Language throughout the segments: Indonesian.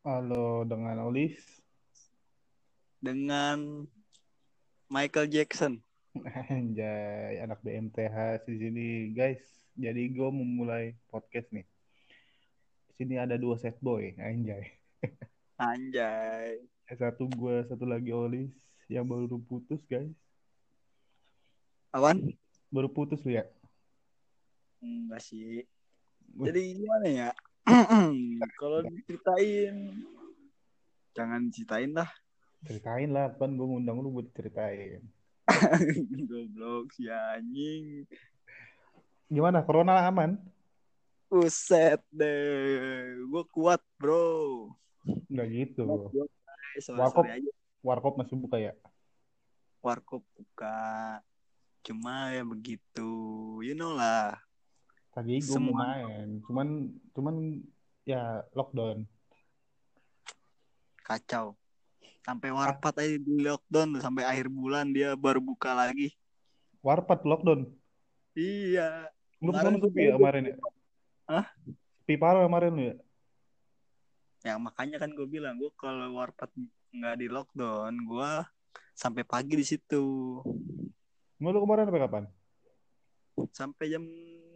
Halo dengan Olis. dengan Michael Jackson. Anjay, anak BMTH di sini, guys. Jadi gue memulai podcast nih. Di sini ada dua set boy, anjay. Anjay. Satu gue, satu lagi Olis yang baru putus, guys. Awan? Baru putus lu ya? Enggak sih. Wih. Jadi gimana ya? Kalau diceritain jangan ceritain lah. Ceritain lah, kan gue ngundang lu buat ceritain. Goblok si anjing. Gimana? Corona aman? Uset deh. Gue kuat, Bro. Enggak gitu. Gua guys, Warkop. Sore-sore aja Warkop masih buka ya? warkop buka. Cuma ya begitu. You know lah. Tadi gue mau Semua. main, cuman cuman ya lockdown. Kacau. Sampai warpat aja di lockdown sampai akhir bulan dia baru buka lagi. Warpat lockdown. Iya. Lu kemarin Kemarin sepi gua- ya kemarin ya? Hah? Sepi parah kemarin lu ya? Ya makanya kan gue bilang gue kalau warpat nggak di lockdown, gue sampai pagi di situ, Mau lu kemarin sampai kapan? sampai jam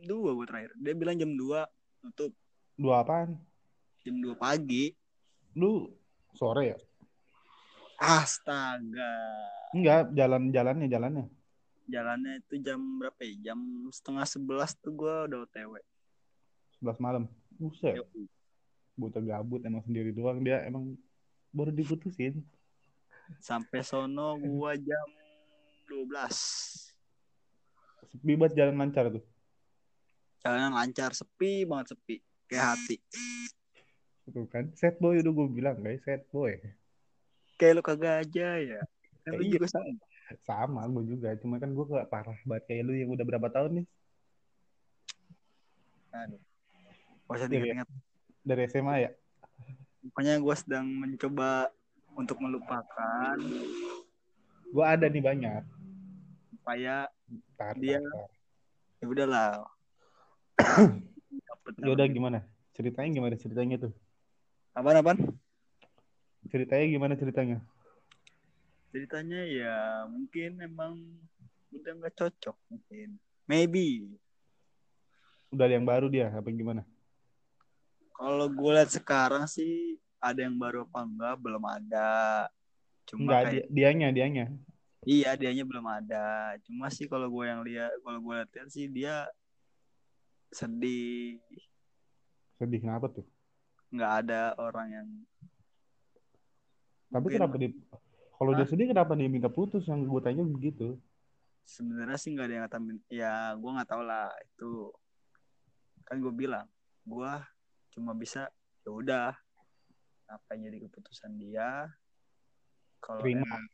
2 gue terakhir. Dia bilang jam 2 tutup, Dua apaan? jam 2 pagi. Lu sore ya? Astaga, Enggak, jalan-jalannya, jalannya. jalannya itu jam berapa ya? Jam setengah 11 tuh gue udah OTW. 11 malam. Buset, Yoi. buta gabut emang sendiri doang. Dia emang baru diputusin. Sampai sono gue jam 12. Sepi banget jalan lancar tuh. Jalanan lancar, sepi banget sepi. Hmm. Kayak hati. Tuh kan. Set boy udah gue bilang guys, set boy. Kayak lu kagak aja ya. Kan lu Iya. juga sama. Sama gue juga, cuma kan gue gak parah banget kayak lu yang udah berapa tahun nih? Aduh. Gak usah Iya, iya. diingat-ingat Dari SMA ya? Pokoknya gue sedang mencoba untuk melupakan Gue ada nih banyak. supaya Tar, Dia- tar, tar. ya udahlah. Dapet Ya udah gimana? Ceritanya gimana ceritanya tuh? Apaan apaan? Ceritanya gimana ceritanya? Ceritanya ya mungkin emang udah nggak cocok mungkin. Maybe Udah ada yang baru dia apa gimana? kalau gue lihat sekarang sih ada yang baru apa enggak belum ada. Cuma Enggak, kayak dia, dianya, dianya. iya dianya belum ada. Cuma sih kalau gue yang lihat kalau gue lihat sih dia sedih Sedih kenapa tuh? nggak ada orang yang Tapi Mungkin- kenapa dia kalau dia sedih kenapa dia minta putus yang gue tanya begitu? sebenarnya sih nggak ada yang kata ya gue nggak tahu lah itu kan gue bilang gue cuma bisa ya udah apa yang jadi keputusan dia kalau Terima. emang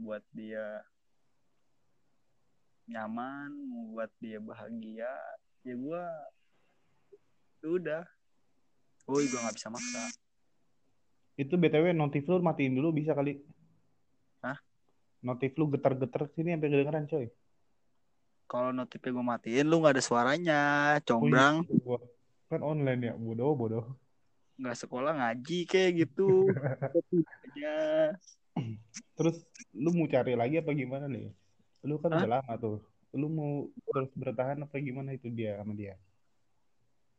buat dia nyaman buat dia bahagia ya gue udah Woi, gue nggak bisa maksa. Itu BTW notif lu matiin dulu bisa kali. Hah? Notif lu getar-getar sini sampai kedengeran coy. Kalau notifnya gue matiin, lu nggak ada suaranya, combrang, Gua kan online ya, bodoh bodoh. nggak sekolah ngaji kayak gitu. Ya, Aja. Terus lu mau cari lagi apa gimana nih? Lu kan Hah? udah lama tuh. Lu mau terus bertahan apa gimana itu dia sama dia?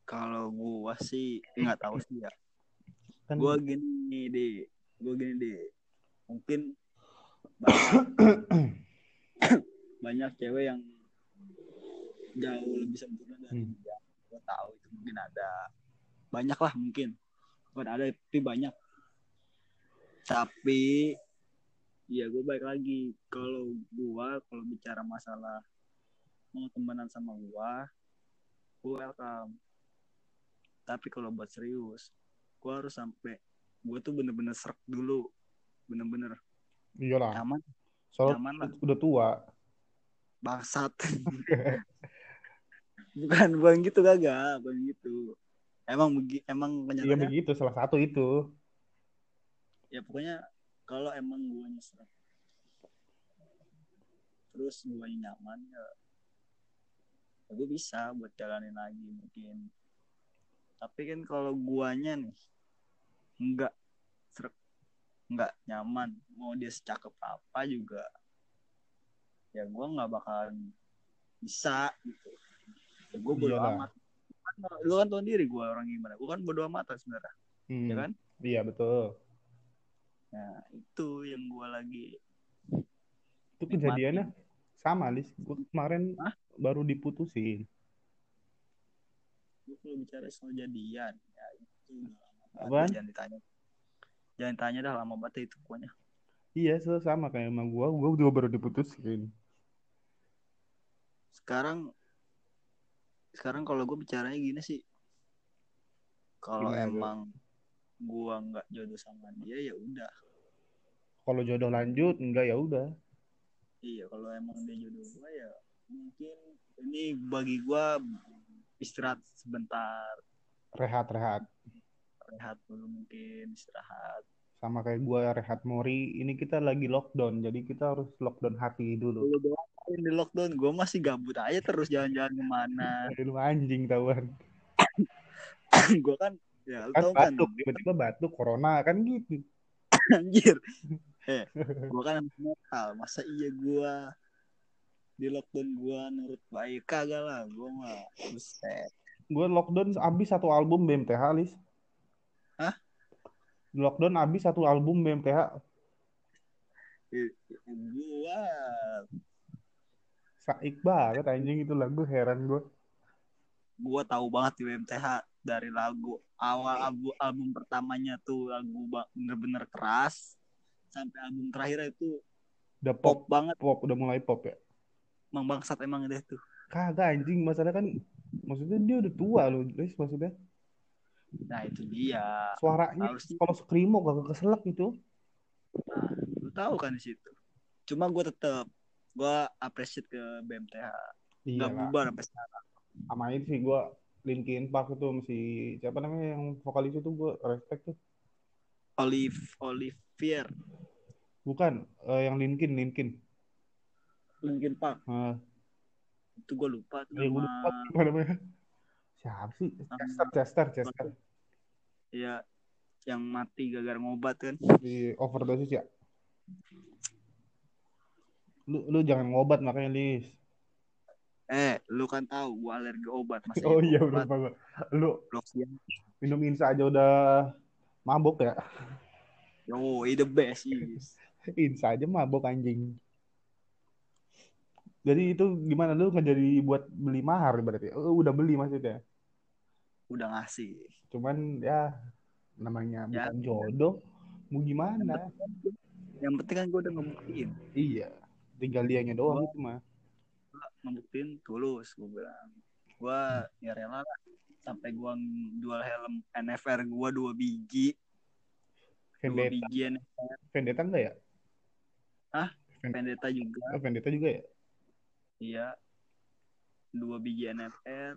Kalau gua sih nggak tahu sih ya. Kan Gua gini deh, gua gini deh. Mungkin banyak, banyak cewek yang jauh lebih sempurna dari Hmm. dia. Gua tahu itu mungkin ada. Banyak lah mungkin. Bukan ada tapi banyak. Tapi ya gue baik lagi kalau gua kalau bicara masalah mau temenan sama gua gua welcome tapi kalau buat serius gua harus sampai gua tuh bener-bener serak dulu bener-bener iyalah. nyaman Soalnya nyaman lah udah tua. bangsat bukan bukan gitu kagak bukan gitu emang begi- emang Iya kenyataannya begitu salah satu itu. ya pokoknya kalau emang gue nyesel terus gue nyaman ya, ya gue bisa buat jalanin lagi mungkin tapi kan kalau guanya nih nggak serak nggak nyaman mau dia secakep apa juga ya gue nggak bakalan bisa gitu ya, gue bodo Iyalah. amat Kan lu kan tau diri gue orang gimana gue kan bodo amat sebenarnya Hmm, ya kan Iya betul. nah itu yang gue lagi Itu kejadiannya sama Lis. Gue kemarin Hah? baru diputusin. Lu kalau bicara soal jadian ya itu udah lama banget. Apaan? jangan ditanya jangan tanya dah lama banget itu pokoknya Iya so, sama kayak sama gue. Gue juga baru diputusin. sekarang sekarang kalau gue bicaranya gini sih kalau Gimana, Bro? emang gua nggak jodoh sama dia ya udah Kalau jodoh lanjut, enggak ya udah. iya kalau emang dia jodoh gua ya mungkin ini bagi gua istirahat sebentar Rehat-rehat. rehat dulu mungkin istirahat Sama kayak gue rehat Mori. Ini kita lagi lockdown. Jadi kita harus lockdown hati dulu. Lu doang yang di lockdown gua masih gabut aja terus jalan-jalan kemana Dari lu anjing tauan. gua kan ya lu Kan tau kan batuk. Tiba-tiba batuk. Corona kan gitu. anjir eh gua kan anak metal masa iya gua di lockdown gua nurut baik kagak lah gua mah buset Gue lockdown abis satu album BMTH, Lis. Hah? Lockdown abis satu album BMTH. gua Saik banget anjing itu lagu heran gue. gua tahu banget di BMTH dari lagu awal album, album pertamanya tuh lagu ba- bener-bener keras sampai album terakhir itu Udah pop, pop banget pop udah mulai pop ya. emang bangsat emang deh tuh Kagak anjing masalah kan maksudnya dia udah tua loh, Lis maksudnya. nah itu dia Suaranya harusnya kalau skrimo kagak keselak gitu. lu tahu kan di situ cuma gua tetep gua appreciate ke BMTH Iya nggak lah. bubar sampai sekarang. Sama itu sih gue Linkin Park itu masih siapa namanya yang vokalis itu gue respect tuh. Olive Olivier Bukan eh, yang Linkin Linkin. Linkin Park Eh, itu gue lupa tuh dia gue Iya, lupa nama apa namanya. Siapa sih? Chester Chester Chester. ya yang mati gara-gara ngobat kan Di overdosis ya. Lu lu jangan ngobat makanya Lis. eh lu kan tahu gue alergi obat masih Oh iya obat bener banget. Lu blok siang minum insa aja udah mabok ya yo the best yes. insa aja mabok anjing jadi itu gimana lu nggak jadi buat beli mahar berarti Lu udah beli maksudnya udah ngasih cuman ya namanya Ya. bukan jodoh mau gimana yang penting kan gue udah ngebuktiin iya tinggal dianya doang itu mah ngebuktiin tulus gue bilang gue ya rela lah sampai gue jual helm NFR gue dua biji dua vendetta biji NFR vendetta enggak ya Hah? Ven- Vendetta juga oh, vendetta juga ya Iya. Dua biji NFR,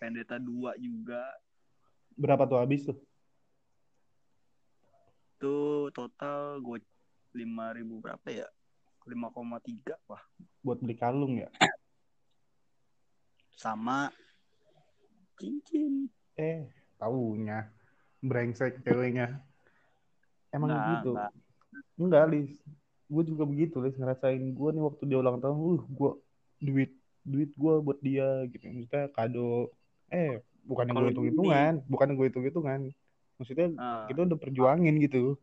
Pendeta dua juga. berapa tuh habis tuh Itu total gue 5000 berapa ya? 5,3 wah. buat beli kalung ya Sama cincin. eh taunya brengsek ceweknya emang Nggak, gitu Nah, nggak. Enggak, Lis. Gue juga begitu, Lis. Ngerasain gue nih waktu dia ulang tahun, uh, gue duit duit gue buat dia gitu. Maksudnya kado, eh bukan gue Kalau hitung hitungan, bukan gue hitung hitungan. Maksudnya Ah, kita udah perjuangin gitu.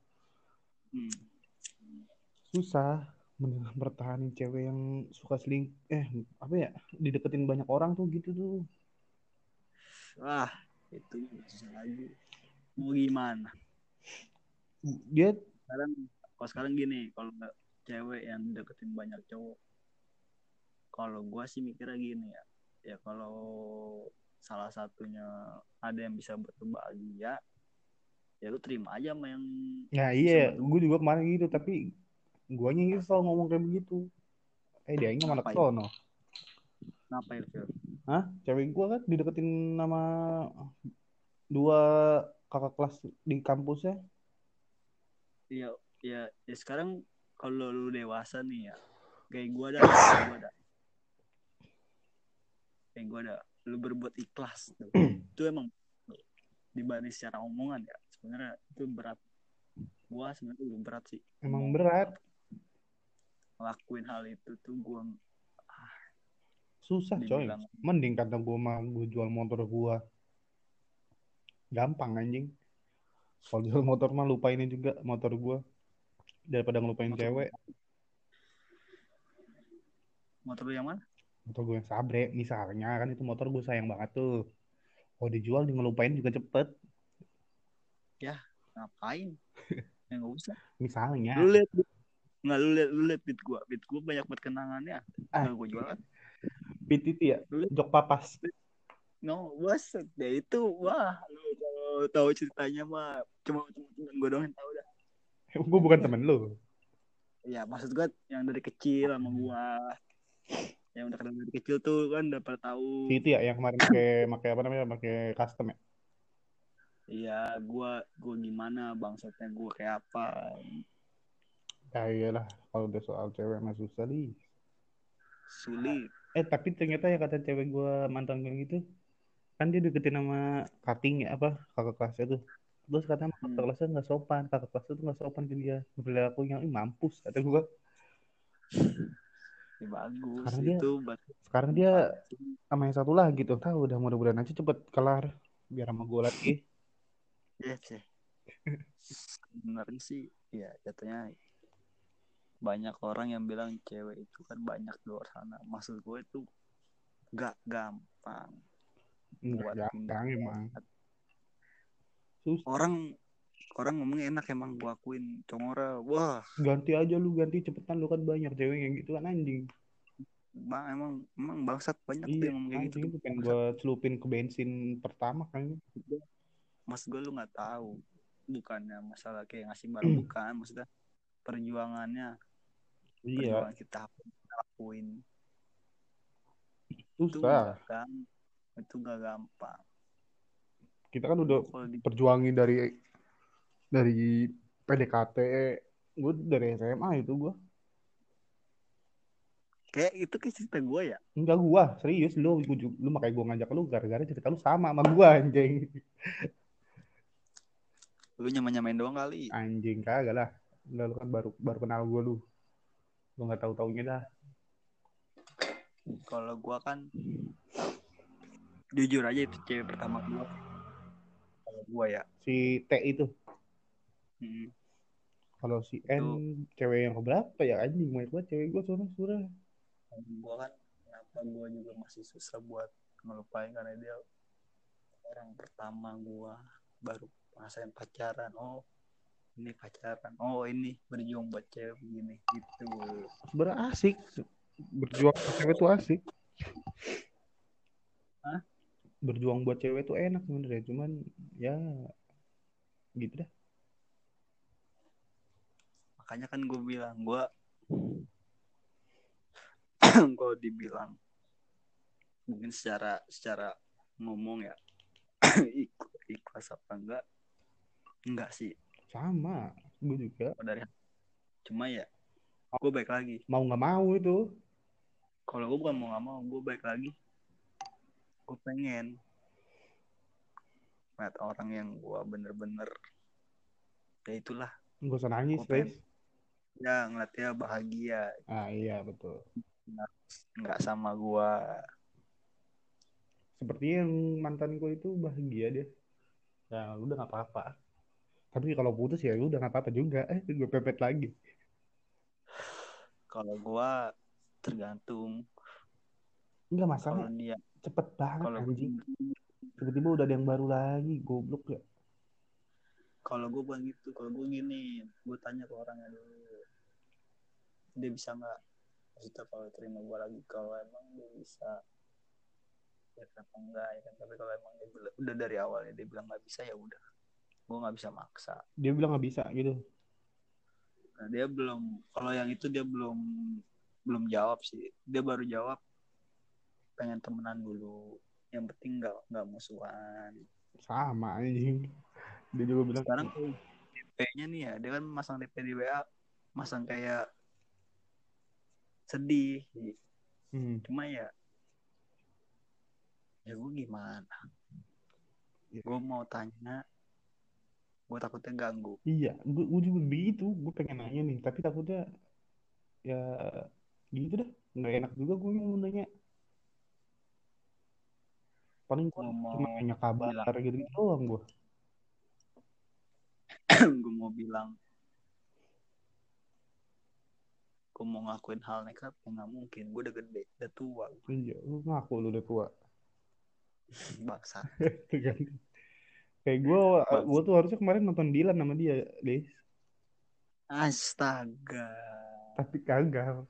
hmm. Susah men- bertahanin cewek yang suka seling eh apa ya dideketin banyak orang tuh gitu tuh Wah, itu susah lagi. Mau gimana? dia Sekarang kalau sekarang gini, kalau nggak cewek yang deketin banyak cowok. Kalau gua sih mikirnya gini ya. Ya kalau salah satunya ada yang bisa berbahagia, ya lu terima aja sama yang nah iya gue juga kemarin gitu tapi guanya yang selalu ngomong kayak begitu eh dia ini malah Apa ya? sono kenapa ya, Phil? Hah? Cewek gua kan dideketin sama dua kakak kelas di kampusnya. Ya, ya, ya sekarang kalau lu dewasa nih ya, kayak gua ada, kayak gua ada. Kayak gua ada, lu berbuat ikhlas tuh. Itu emang dibanding secara omongan ya. sebenarnya. sebenarnya itu berat gua sebenarnya belum berat sih Emang berat, lakuin hal itu tuh gua susah coy. dibilang Mending kata gue mah gue jual motor gua Gampang anjing. Kalau jual motor mah lupainnya juga motor gua Daripada ngelupain Motor- cewek, motor lu yang mana motor gue yang sabre misalnya kan itu motor gue sayang banget tuh. Kalau dijual di ngelupain juga cepet ngapain ya nggak usah misalnya. lu lihat nggak lu lihat lu lihat beat gua beat gua banyak banget kenangannya Ah. nggak gua jualan PTT ya, Lu- jok papas. no waset deh itu wah lu kalau tahu ceritanya mah cuma cuma gua doang yang tahu dah gue bukan temen lu. ya maksud gua yang dari kecil sama Hmm. gua yang udah kenal dari kecil tuh kan udah pernah tahu Si itu ya yang kemarin pakai pakai apa namanya pakai custom ya. Iya, gua gua gimana bangsatnya gua kayak apa. Ya iyalah kalau udah soal cewek mah susah nih. Sulit. Eh tapi ternyata ya kata cewek gua mantan gue gitu kan dia deketin sama kating ya apa kakak kelasnya tuh. Terus kata sama kakak Hmm. kelasnya nggak sopan, kakak kelasnya tuh nggak sopan ke dia. Perilakunya ih mampus kata gua. Ya, bagus Karena dia- itu buat Sekarang dia sama yang satu lagi tuh tahu udah mudah-mudahan aja cepet kelar biar sama gue lagi. ya sih. Sebenarnya sih ya jatuhnya banyak orang yang bilang cewek itu kan banyak di luar sana. Maksud gue itu gak gampang. Enggak Buat gampang Hmm, emang. Susah. Orang orang ngomongnya enak emang gua akuin Congora. Wah, Ganti aja lu ganti cepetan lu kan banyak cewek yang gitu kan anjing. bang emang emang bangsat banyak tuh Iya, yang ngomong kayak gitu. anjing itu pengen gue celupin ke bensin pertama kan. Mas gue lu nggak tahu bukannya masalah kayak ngasih barang bukan maksudnya perjuangannya Hmm. Iya, perjuangan kita apa yang kita lakuin itu susah. nggak gampang itu nggak gampang Kita kan udah kalau di perjuangin dari dari PDKT. Gue dari SMA itu gue. kayak itu kayak cerita gue ya Enggak gue, serius lu gua ju- lu makanya gue ngajak lu gara-gara cerita lu sama sama gue anjing. lu nyaman nyamain doang kali Anjing kagak lah. Enggak, lu kan baru baru kenal gue lu. Lu nggak tahu taunya dah. kalau gue kan jujur aja itu cewek pertama gue kalau gue ya Si T itu. Mm. Kalau si N cewek yang berapa ya anjing banyak banget cewek gue surah-surah. Kalau gue kan kenapa gue juga masih susah buat ngelupain karena dia orang pertama gue baru ngerasain pacaran oh ini pacaran oh ini berjuang buat cewek begini gitu Sebenarnya asik. Berjuang buat cewek tuh asik. Hah? Berjuang buat cewek tuh enak sebenarnya, cuman ya gitu dah. makanya kan gue bilang gue gue dibilang mungkin secara secara ngomong ya ik- ikhlas apa enggak enggak sih Sama, gue juga kalau dari cuma ya gue baik lagi mau nggak mau itu. kalau gue bukan mau nggak mau gue baik lagi gue pengen lihat orang yang gue bener-bener ya itulah Gak usah nangis, Gua pengen- guys. ya ngeliatnya bahagia Ah iya betul. nggak sama gue Sepertinya yang mantan gue itu bahagia dia. Ya udah nggak apa-apa. Tapi kalau putus ya udah nggak apa-apa juga. Eh gue pepet lagi. kalau gue tergantung Enggak kalau masalah. dia Cepet banget kalau anjing. Tiba-tiba udah ada yang baru lagi. Goblok ya. kalau gue bukan gitu kalau gue gini gue tanya ke orangnya dulu dia bisa nggak maksudnya kalau terima gue lagi kalau emang dia bisa ya kenapa enggak ya kan tapi kalau emang dia bila- udah dari awalnya dia bilang nggak bisa ya udah gue nggak bisa maksa Dia bilang nggak bisa gitu. nah, dia belum kalau yang itu dia belum belum jawab sih dia baru jawab pengen temenan dulu yang penting nggak nggak musuhan Sama anjing. Dia juga bilang gitu. sekarang DP-nya nih ya dia kan masang DP di WA masang kayak sedih hmm, cuma ya ya gue gimana Iya. gue mau tanya gue takutnya ganggu Iya, gue, gue juga begitu. Gue pengen nanya nih, tapi takutnya ya gitu dah. Nggak enak juga gue mau nanya. Paling gue Ngomong cuma nanya kabar bilang. gitu doang gue. gue mau bilang gue mau ngakuin hal nekat ya nggak mungkin gue udah gede udah tua Iya, lu ngaku lu udah tua. bangsa Tuh kan. Kayak gue, Iya, gue tuh harusnya kemarin nonton Dilan sama dia, deh. astaga Tapi kagak.